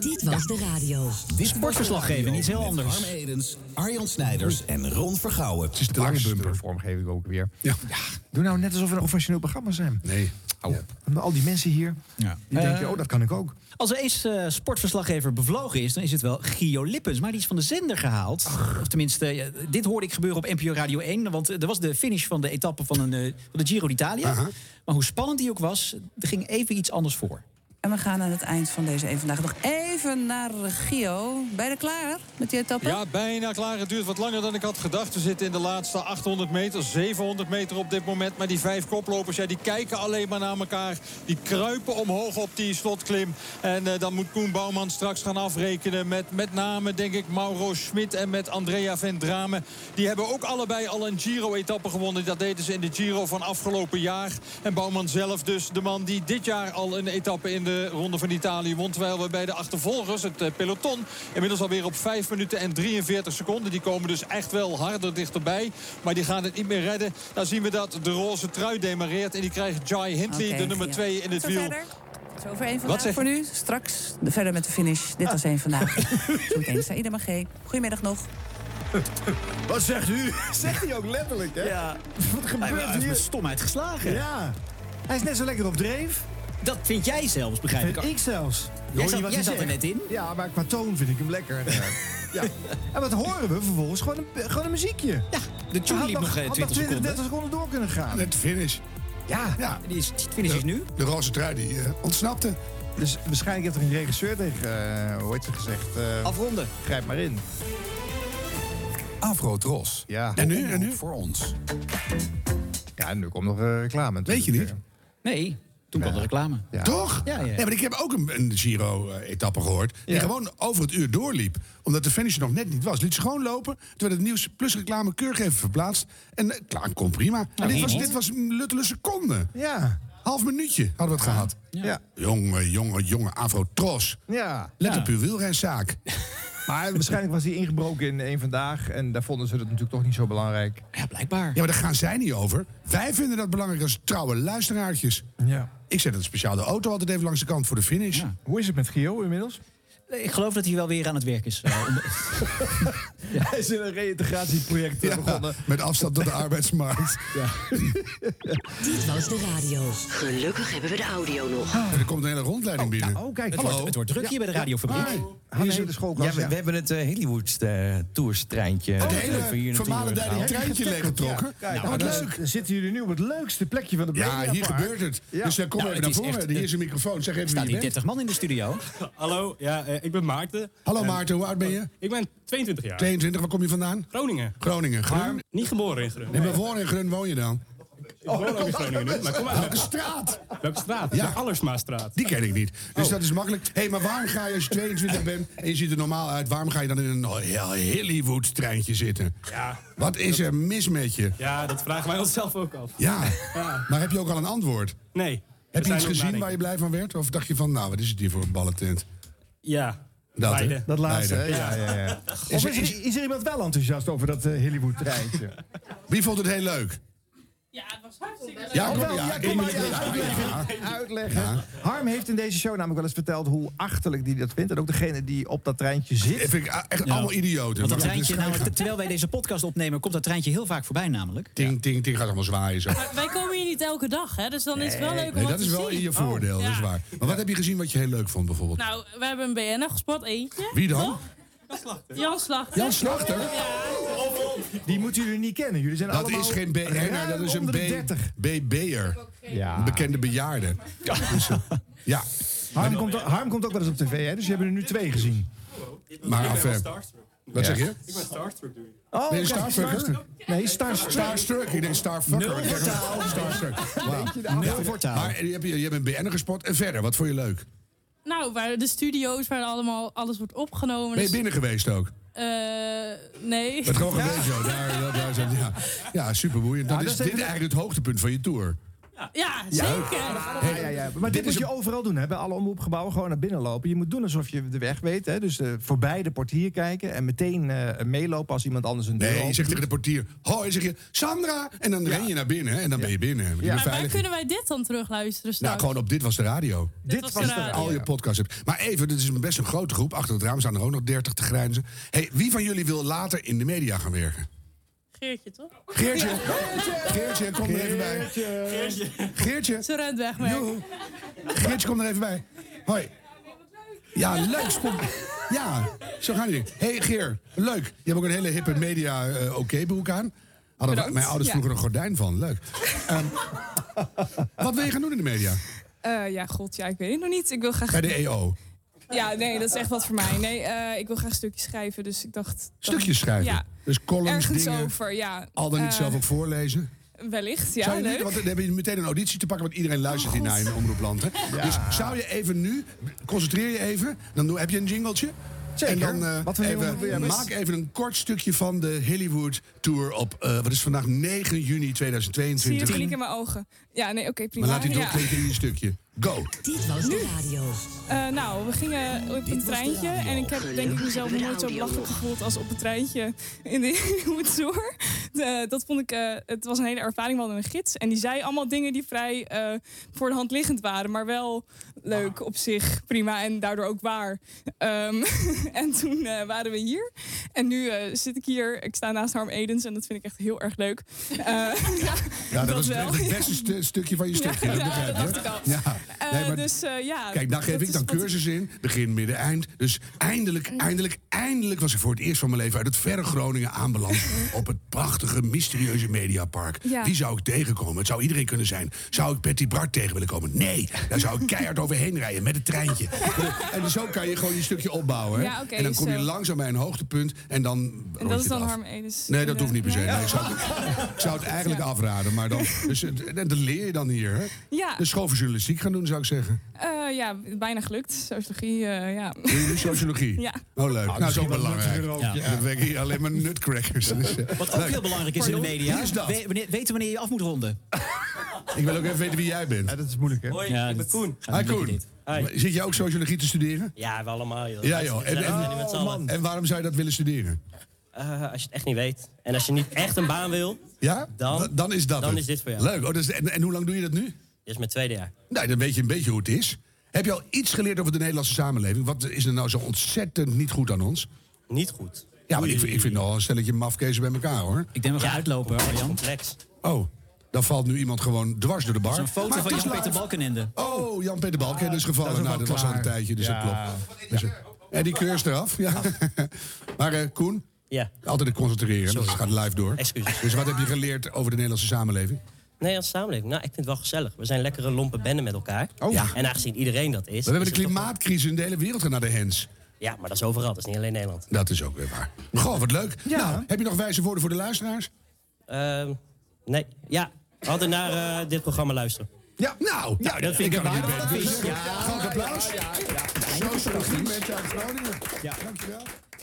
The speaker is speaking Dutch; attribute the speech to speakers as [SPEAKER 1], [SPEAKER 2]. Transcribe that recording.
[SPEAKER 1] Dit was de radio.
[SPEAKER 2] Sportverslaggever, iets heel anders.
[SPEAKER 3] Arm Edens, Arjan Snijders en Ron Vergouwen.
[SPEAKER 4] Het is de lange bumper. vormgeving ook weer. Ja. Doe nou net alsof we een professioneel programma zijn.
[SPEAKER 5] Nee.
[SPEAKER 4] Ja. Al die mensen hier, die
[SPEAKER 2] Eh,
[SPEAKER 4] denken, oh, dat kan ik ook.
[SPEAKER 2] Als er eens eh, sportverslaggever bevlogen is, dan is het wel Gio Lippens. Maar die is van de zender gehaald. Of tenminste, ja, dit hoorde ik gebeuren op NPO Radio 1. Want eh, er was de finish van de etappe van, een, eh, van de Giro d'Italia. Maar hoe spannend die ook was, er ging even iets anders voor.
[SPEAKER 6] En we gaan aan het eind van deze even vandaag nog even naar Gio. Bijna klaar met die etappe?
[SPEAKER 7] Ja, bijna klaar. Het duurt wat langer dan ik had gedacht. We zitten in de laatste 800 meter, 700 meter op dit moment. Maar die vijf koplopers, ja, die kijken alleen maar naar elkaar. Die kruipen omhoog op die slotklim. En eh, dan moet Koen Bouwman straks gaan afrekenen met met name, denk ik, Mauro Schmid en met Andrea Vendrame. Die hebben ook allebei al een Giro-etappe gewonnen. Dat deden ze in de Giro van afgelopen jaar. En Bouwman zelf dus de man die dit jaar al een etappe in de Ronde van Italië won. Terwijl we bij de achtervolgers, het eh, peloton, inmiddels alweer op 5 minuten en 43 seconden. Die komen dus echt wel harder dichterbij. Maar die gaan het niet meer redden. Dan zien we dat de roze trui demareert. En die krijgt Jai Hindley,
[SPEAKER 6] Oké,
[SPEAKER 7] de nummer
[SPEAKER 6] Gio.
[SPEAKER 7] 2 in het
[SPEAKER 6] Zo
[SPEAKER 7] wiel.
[SPEAKER 6] verder. Zover één
[SPEAKER 7] Wat
[SPEAKER 6] vandaag
[SPEAKER 7] zeg Ah.
[SPEAKER 6] voor nu. Straks verder met de finish. Dit was één vandaag. Zometeen Saïda Magé. Goedemiddag nog.
[SPEAKER 8] Wat zegt u? Zegt hij ook letterlijk, hè?
[SPEAKER 2] Ja.
[SPEAKER 8] Wat
[SPEAKER 2] Hij
[SPEAKER 8] gebeurt
[SPEAKER 2] heeft met
[SPEAKER 8] hier?
[SPEAKER 2] stomheid geslagen.
[SPEAKER 8] Ja. Hij is net zo lekker op dreef.
[SPEAKER 2] Dat vind jij zelfs, begrijp ik.
[SPEAKER 8] Vind ik zelfs.
[SPEAKER 2] Jij
[SPEAKER 8] Hoor je
[SPEAKER 2] zat,
[SPEAKER 8] wat
[SPEAKER 2] jij
[SPEAKER 8] hij
[SPEAKER 2] zat er
[SPEAKER 8] zegt?
[SPEAKER 2] net in.
[SPEAKER 8] Ja, maar qua toon vind ik hem lekker. Eh, ja. En wat horen we vervolgens? Gewoon een, gewoon een muziekje.
[SPEAKER 2] Ja, de tune
[SPEAKER 8] Had
[SPEAKER 2] liep
[SPEAKER 8] nog-
[SPEAKER 2] nog eh,
[SPEAKER 8] had nog
[SPEAKER 2] 20 seconden.
[SPEAKER 8] 30 seconden door kunnen gaan.
[SPEAKER 5] Net de finish.
[SPEAKER 8] Ja.
[SPEAKER 5] Ja.
[SPEAKER 2] Die is, die finish is nu.
[SPEAKER 5] De roze trui die eh, ontsnapte.
[SPEAKER 8] Dus waarschijnlijk heeft er een regisseur tegen, eh hoe heet ze gezegd, eh,
[SPEAKER 2] Afronden.
[SPEAKER 8] grijp maar in.
[SPEAKER 3] Afro Tros.
[SPEAKER 8] Ja.
[SPEAKER 5] En nu? En nu?
[SPEAKER 3] Voor ons.
[SPEAKER 8] Ja, en nu komt nog eh, reclame.
[SPEAKER 5] Weet je
[SPEAKER 8] natuurlijk,
[SPEAKER 2] Nee, toen kwam de reclame.
[SPEAKER 8] Ja.
[SPEAKER 5] Toch?
[SPEAKER 2] Ja, ja.
[SPEAKER 5] Nee, maar ik heb ook een, een Giro-etappe gehoord. Die
[SPEAKER 8] Ja.
[SPEAKER 5] gewoon over het uur doorliep. Omdat de finish er nog net niet was. Liet ze gewoon lopen. Toen werd het nieuws plus reclame keurig even verplaatst. En eh, klaar, kon prima. En dit, was, dit was een luttele seconde.
[SPEAKER 8] hè? Ja.
[SPEAKER 5] Half minuutje hadden we het gehad.
[SPEAKER 8] Ja. ja.
[SPEAKER 5] Jonge, jonge, jonge Afro-tros. Let op uw wielrenzaak.
[SPEAKER 8] Maar waarschijnlijk was hij ingebroken in één vandaag. En daar vonden ze het natuurlijk toch niet zo belangrijk.
[SPEAKER 2] Ja, blijkbaar.
[SPEAKER 5] Ja, maar daar gaan zij niet over. Wij vinden dat belangrijk als trouwe luisteraartjes.
[SPEAKER 8] Ja.
[SPEAKER 5] Ik zet het speciaal de auto altijd even langs de kant voor de finish. Ja.
[SPEAKER 8] Hoe is het met Gio inmiddels?
[SPEAKER 2] Ik geloof dat hij wel weer aan het werk is. eh, om-
[SPEAKER 8] Hij is in een reïntegratieproject eh, begonnen.
[SPEAKER 5] met afstand tot de arbeidsmarkt.
[SPEAKER 1] Dit was de radio. Gelukkig hebben we de audio nog.
[SPEAKER 5] En er komt een hele rondleiding binnen.
[SPEAKER 8] nou, oh, kijk.
[SPEAKER 2] Het
[SPEAKER 5] Hallo.
[SPEAKER 2] wordt, het wordt druk hier bij de radiofabriek.
[SPEAKER 5] Hi.
[SPEAKER 8] Hanne de schoolklas.
[SPEAKER 9] Ja, we, we hebben het eh, Hollywood eh, Tours treintje.
[SPEAKER 5] Het
[SPEAKER 2] oh.
[SPEAKER 9] eh, even hier
[SPEAKER 5] Oh, hele
[SPEAKER 9] naartoe
[SPEAKER 5] vermalen
[SPEAKER 9] gehaald.
[SPEAKER 5] daar treintje leeg getrokken.
[SPEAKER 8] Kijk,
[SPEAKER 5] nou,
[SPEAKER 8] nou,
[SPEAKER 5] wat
[SPEAKER 8] dan
[SPEAKER 5] leuk.
[SPEAKER 8] zitten jullie nu op het leukste plekje van de
[SPEAKER 5] Ja, hier
[SPEAKER 8] Mediapark.
[SPEAKER 5] gebeurt het.
[SPEAKER 8] Ja.
[SPEAKER 5] Dus eh, kom
[SPEAKER 2] Nou,
[SPEAKER 5] even
[SPEAKER 2] het
[SPEAKER 5] naar
[SPEAKER 2] is
[SPEAKER 5] voren.
[SPEAKER 2] echt-
[SPEAKER 5] Hier is een microfoon. Zeg even
[SPEAKER 2] Staat
[SPEAKER 5] wie
[SPEAKER 2] hier
[SPEAKER 5] je bent.
[SPEAKER 2] 30 man in de studio.
[SPEAKER 10] Hallo, ja, eh, ik ben Maarten.
[SPEAKER 5] Hallo Maarten, hoe oud ben je?
[SPEAKER 10] Ik ben 22 jaar.
[SPEAKER 5] 22, waar kom je vandaan?
[SPEAKER 10] Groningen.
[SPEAKER 5] Groningen. Grun?
[SPEAKER 10] Niet geboren in Groningen.
[SPEAKER 5] En waarvoor in Grun woon je dan?
[SPEAKER 10] Ik woon ook in Groningen nu, maar kom uit
[SPEAKER 5] Welke straat?
[SPEAKER 10] welke straat?
[SPEAKER 5] Ja.
[SPEAKER 10] De Allersmaastraat.
[SPEAKER 5] Die ken ik niet. Dus dat is makkelijk. Hé, maar waarom ga je als je 22 bent en je ziet er normaal uit... waarom ga je dan in een Hollywood-treintje zitten?
[SPEAKER 10] Ja.
[SPEAKER 5] Wat is er mis met je?
[SPEAKER 10] Ja, dat vragen wij onszelf ook af.
[SPEAKER 5] Ja, maar heb je ook al een antwoord?
[SPEAKER 10] Nee.
[SPEAKER 5] Heb je iets gezien
[SPEAKER 10] nog
[SPEAKER 5] waar je
[SPEAKER 10] nadenken.
[SPEAKER 5] blij van werd? Of dacht je van, nou, wat is het hier voor een ballentent?
[SPEAKER 10] Ja.
[SPEAKER 5] Dat, hè?
[SPEAKER 10] Leiden.
[SPEAKER 8] Dat laatste, hè?
[SPEAKER 5] Leiden.
[SPEAKER 8] Ja, ja, ja. Of is, er, is er iemand wel enthousiast over dat eh, Hollywood-treintje?
[SPEAKER 5] Wie vond het heel leuk? Ja, het was
[SPEAKER 8] Wel, ja,
[SPEAKER 5] hartstikke
[SPEAKER 8] kom
[SPEAKER 5] leuk.
[SPEAKER 8] maar uitleggen. uitleggen. Harm heeft in deze show namelijk wel eens verteld hoe achterlijk die dat vindt. En ook degene die op dat treintje
[SPEAKER 5] Dat
[SPEAKER 8] zit.
[SPEAKER 5] vind ik echt allemaal idioten.
[SPEAKER 2] Want dat
[SPEAKER 5] Maar goed,
[SPEAKER 2] treintje, nou-
[SPEAKER 5] dus ga-
[SPEAKER 2] namelijk, te- terwijl wij deze podcast opnemen, komt dat treintje heel vaak voorbij namelijk.
[SPEAKER 5] Ting, ting, ting, gaat allemaal zwaaien zo.
[SPEAKER 11] Wij komen hier niet elke dag, hè? Dus dan is het wel leuk om
[SPEAKER 5] Nee,
[SPEAKER 11] wat
[SPEAKER 5] dat
[SPEAKER 11] te
[SPEAKER 5] is wel
[SPEAKER 11] zien.
[SPEAKER 5] in je voordeel, dat is
[SPEAKER 11] ja.
[SPEAKER 5] waar. Maar wat heb je gezien wat je heel leuk vond bijvoorbeeld?
[SPEAKER 11] Nou, we hebben een BN'er gespot, eentje.
[SPEAKER 5] Wie dan?
[SPEAKER 11] Jan Slachter.
[SPEAKER 5] Jan Slachter?
[SPEAKER 8] Die moeten jullie niet kennen. Jullie zijn
[SPEAKER 5] Dat
[SPEAKER 8] allemaal
[SPEAKER 5] is geen BN'er,
[SPEAKER 8] ruim
[SPEAKER 5] dat is een
[SPEAKER 8] onder de
[SPEAKER 5] B-
[SPEAKER 8] 30.
[SPEAKER 5] BB'er.
[SPEAKER 8] Ja.
[SPEAKER 5] Een bekende bejaarde. Dus, eh, ja,
[SPEAKER 8] Harm, komt, ook- Harm komt ook wel eens op tv, hè? dus je hebben er nu twee gezien.
[SPEAKER 5] maar
[SPEAKER 10] Ik ben wel
[SPEAKER 5] af.
[SPEAKER 10] starstruck.
[SPEAKER 5] Wat zeg je?
[SPEAKER 10] Ik ben starstruck nu.
[SPEAKER 8] Oh,
[SPEAKER 5] Ben je
[SPEAKER 8] kijk,
[SPEAKER 5] Starfucker?
[SPEAKER 8] Nee, Starstruck.
[SPEAKER 5] Starstruck, ik denk Starfucker. maar ik zeg wel Starstruck. Wauw.
[SPEAKER 2] Nul voortaal.
[SPEAKER 5] Maar eh, je hebt, je hebt een BN'er gespot. En verder, wat vond je leuk?
[SPEAKER 11] Nou, waar de studio's, waar allemaal alles wordt opgenomen.
[SPEAKER 5] Ben je
[SPEAKER 11] Dus,
[SPEAKER 5] binnen geweest ook?
[SPEAKER 11] eh, nee.
[SPEAKER 5] Het gewoon geweest zo. Daar, daar, daar zijn- ja. ja, superboeiend.
[SPEAKER 8] Ja,
[SPEAKER 5] dat
[SPEAKER 8] dat
[SPEAKER 5] is
[SPEAKER 8] is
[SPEAKER 5] dit
[SPEAKER 8] even-
[SPEAKER 5] eigenlijk het hoogtepunt van je tour.
[SPEAKER 11] Ja, zeker.
[SPEAKER 5] Ah,
[SPEAKER 8] Ja, ja, ja. Maar dit, moet je overal doen, hè? bij alle omroepgebouwen gewoon naar binnen lopen. Je moet doen alsof je de weg weet. Hè? Dus eh, voorbij de portier kijken en meteen eh, meelopen als iemand anders een deur
[SPEAKER 5] Nee, je
[SPEAKER 8] opent.
[SPEAKER 5] zegt tegen de portier, hoi, zeg je, Sandra! En dan ren je naar binnen hè, en dan ben je binnen. Je bent
[SPEAKER 11] Maar waar
[SPEAKER 5] veilig.
[SPEAKER 11] kunnen wij dit dan terugluisteren
[SPEAKER 5] Nou,
[SPEAKER 11] straks?
[SPEAKER 5] gewoon op Dit Was De Radio.
[SPEAKER 11] Dit Was De Was De Radio.
[SPEAKER 5] Al je podcasts hebt. Maar even, dit is een best een grote groep. Achter het raam staan er ook nog 30 te grijnzen. Hey, wie van jullie wil later in de media gaan werken?
[SPEAKER 11] Geertje, toch?
[SPEAKER 5] Geertje. Geertje, kom er even bij.
[SPEAKER 11] Geertje.
[SPEAKER 5] Geertje.
[SPEAKER 11] Ze rent weg, maar...
[SPEAKER 5] Geertje, kom er even bij. Hoi. Ja, leuk. spon- Ja, zo gaan jullie. hey, Geer, leuk. Je hebt ook een hele hippe media eh, oké-broek aan. Hadden
[SPEAKER 12] Bedankt.
[SPEAKER 5] mijn ouders
[SPEAKER 12] Ja.
[SPEAKER 5] vroeger een gordijn van. Leuk. Ehm, wat wil je gaan doen in de media?
[SPEAKER 12] Eh, ja, god, ja, ik weet het nog niet. Ik wil graag...
[SPEAKER 5] Bij de E EO.
[SPEAKER 12] Ja, nee, dat is echt wat voor mij. Nee, eh, ik wil graag stukjes schrijven, dus ik dacht... dan-
[SPEAKER 5] Stukjes schrijven.
[SPEAKER 12] Ja,
[SPEAKER 5] Dus columns,
[SPEAKER 12] ergens
[SPEAKER 5] dingen.
[SPEAKER 12] over, ja.
[SPEAKER 5] Al dan niet
[SPEAKER 12] Eh,
[SPEAKER 5] zelf ook voorlezen.
[SPEAKER 12] Wellicht, ja,
[SPEAKER 5] zou je niet-
[SPEAKER 12] leuk. Oh,
[SPEAKER 5] want dan heb je meteen een auditie te pakken, want iedereen luistert hier naar in Omroepland. Hè? Dus zou je even nu, concentreer je even, dan doe- heb je een jingletje. En dan eh,
[SPEAKER 8] Wat voor jingle wil je
[SPEAKER 5] even,
[SPEAKER 8] hebben?
[SPEAKER 5] maak even een kort stukje van de Hollywood Tour op, eh, wat is vandaag 9 juni
[SPEAKER 12] Zie je
[SPEAKER 5] 2022.
[SPEAKER 12] het klinken in mijn ogen? Ja, nee, oké, prima.
[SPEAKER 5] maar laat die
[SPEAKER 12] ja.
[SPEAKER 5] doorklinken in je stukje. Go!
[SPEAKER 12] Dit was de radio. nou, we gingen op een treintje. En ik heb denk ik mezelf nog nooit zo belachelijk gevoeld als op een treintje in de Hollywood Tour. De- dat vond ik, eh, het was een hele ervaring. We hadden een gids. En die zei allemaal dingen die vrij eh, voor de hand liggend waren. Maar wel leuk op zich, prima. En daardoor ook waar. Ehm, en toen eh, waren we hier. En nu eh, zit ik hier. Ik sta naast Harm Edens. En dat vind ik echt heel erg leuk. Eh, ja,
[SPEAKER 5] Ja, dat, was
[SPEAKER 12] wel.
[SPEAKER 5] echt het beste stu- stukje van je stukje. dat begrijp je. Ja.
[SPEAKER 12] Eh,
[SPEAKER 5] Nee, maar-
[SPEAKER 12] dus eh, ja.
[SPEAKER 5] Kijk, daar geef
[SPEAKER 12] dat
[SPEAKER 5] ik
[SPEAKER 12] is
[SPEAKER 5] dan
[SPEAKER 12] wat ik-
[SPEAKER 5] cursus in. Begin, midden, eind. Dus eindelijk, eindelijk, eindelijk was ik voor het eerst van mijn leven uit het verre Groningen aanbeland. op het prachtige, mysterieuze Mediapark.
[SPEAKER 12] Ja.
[SPEAKER 5] Wie zou ik tegenkomen? Het zou iedereen kunnen zijn. Zou ik Patty Bart tegen willen komen? Nee, daar zou ik keihard overheen rijden met het treintje. en zo kan je gewoon je stukje opbouwen. hè?
[SPEAKER 12] Ja, oké,
[SPEAKER 5] en dan kom je
[SPEAKER 12] zo.
[SPEAKER 5] langzaam bij een hoogtepunt en dan.
[SPEAKER 12] En
[SPEAKER 5] rond je
[SPEAKER 12] dat
[SPEAKER 5] het
[SPEAKER 12] is dan
[SPEAKER 5] af.
[SPEAKER 12] Harm Edens.
[SPEAKER 5] Nee, dat hoeft niet per se.
[SPEAKER 12] Nee.
[SPEAKER 5] Nee, ik, zou, ik zou het eigenlijk afraden, maar dan. Dus, eh, dat leer je dan hier. Hè?
[SPEAKER 12] Ja.
[SPEAKER 5] Dus school voor journalistiek gaan doen, zou ik zeggen.
[SPEAKER 12] Eh, ja, bijna gelukt. Sociologie, eh, ja.
[SPEAKER 5] Doe je nu sociologie?
[SPEAKER 12] Ja.
[SPEAKER 5] Oh,
[SPEAKER 4] Nou,
[SPEAKER 5] leuk. Nou, zo
[SPEAKER 4] misschien wel
[SPEAKER 5] belangrijk.
[SPEAKER 4] nuttiger ook, ja.
[SPEAKER 5] Dan ben ik hier alleen maar nutcrackers. Dus, eh,
[SPEAKER 2] Wat ook
[SPEAKER 5] leuk.
[SPEAKER 2] heel belangrijk is in de
[SPEAKER 5] Pardon?
[SPEAKER 2] media.
[SPEAKER 5] Wie is dat?
[SPEAKER 2] we- wanneer- weten wanneer je af moet ronden.
[SPEAKER 5] Ik wil ook even weten wie jij bent.
[SPEAKER 8] dat is moeilijk, hè?
[SPEAKER 10] Hoi,
[SPEAKER 2] Ja,
[SPEAKER 10] ik ben
[SPEAKER 2] dat-
[SPEAKER 10] Koen.
[SPEAKER 5] Hi, Koen. Zit jij ook sociologie te studeren?
[SPEAKER 10] Ja, we allemaal, joh.
[SPEAKER 5] Ja, joh. En,
[SPEAKER 10] En,
[SPEAKER 5] en- oh, man. en waarom zou je dat willen studeren?
[SPEAKER 10] als je het echt niet weet. En als je niet echt een baan wil,
[SPEAKER 5] Ja?
[SPEAKER 10] dan,
[SPEAKER 5] Dan is dat
[SPEAKER 10] dan
[SPEAKER 5] het.
[SPEAKER 10] is dit voor jou.
[SPEAKER 5] Leuk. Oh, dat is, en, en hoe lang doe je dat nu?
[SPEAKER 10] Dit is mijn tweede jaar.
[SPEAKER 5] Nou, dan weet je een beetje hoe het is. Heb je al iets geleerd over de Nederlandse samenleving? Wat is er nou zo ontzettend niet goed aan ons?
[SPEAKER 10] Niet goed.
[SPEAKER 5] Ja, maar ik, ik vind al een stelletje mafkezen bij elkaar, hoor.
[SPEAKER 2] Ik denk dat we gaan uitlopen, Arjan.
[SPEAKER 10] Complex.
[SPEAKER 5] Oh, dan valt nu iemand gewoon dwars door de bar.
[SPEAKER 2] Dat is een foto
[SPEAKER 5] Maar
[SPEAKER 2] van
[SPEAKER 5] het is
[SPEAKER 2] Jan-Peter
[SPEAKER 5] live.
[SPEAKER 2] Balkenende.
[SPEAKER 5] Oh, Jan-Peter Balken is gevallen.
[SPEAKER 2] Ah, Dat is ook wel
[SPEAKER 5] nou, dat was al een
[SPEAKER 2] klaar.
[SPEAKER 5] tijdje, dus
[SPEAKER 2] Ja.
[SPEAKER 5] dat klopt. Dus, en die keur is eraf. Ja. maar eh, Koen,
[SPEAKER 10] Ja.
[SPEAKER 5] altijd het concentreren. Dat gaat live door.
[SPEAKER 10] Excuses.
[SPEAKER 5] Dus wat heb je geleerd over de Nederlandse samenleving?
[SPEAKER 10] Nederlandse samenleving. Nou, ik vind het wel gezellig. We zijn lekkere lompe benden met elkaar.
[SPEAKER 5] Ja.
[SPEAKER 10] En aangezien iedereen dat is...
[SPEAKER 5] We hebben
[SPEAKER 10] is
[SPEAKER 5] de
[SPEAKER 10] het toch wel-
[SPEAKER 5] klimaatcrisis in de hele wereld gaan naar de hens.
[SPEAKER 10] Ja, maar dat is overal. Dat is niet alleen Nederland.
[SPEAKER 5] Dat is ook weer waar. Goh, wat leuk. Nou, heb je nog wijze woorden voor de luisteraars?
[SPEAKER 10] Ehm, nee. Ja, altijd naar eh, dit programma luisteren.
[SPEAKER 5] Ja, nou, nou,
[SPEAKER 10] dat vind ik
[SPEAKER 5] kan dus. er
[SPEAKER 10] een
[SPEAKER 5] niet
[SPEAKER 10] waardig
[SPEAKER 5] beter
[SPEAKER 10] advies.
[SPEAKER 5] zeggen.
[SPEAKER 10] Ja.
[SPEAKER 5] Groot applaus. Sociologie met Jan Groningen. Dankjewel.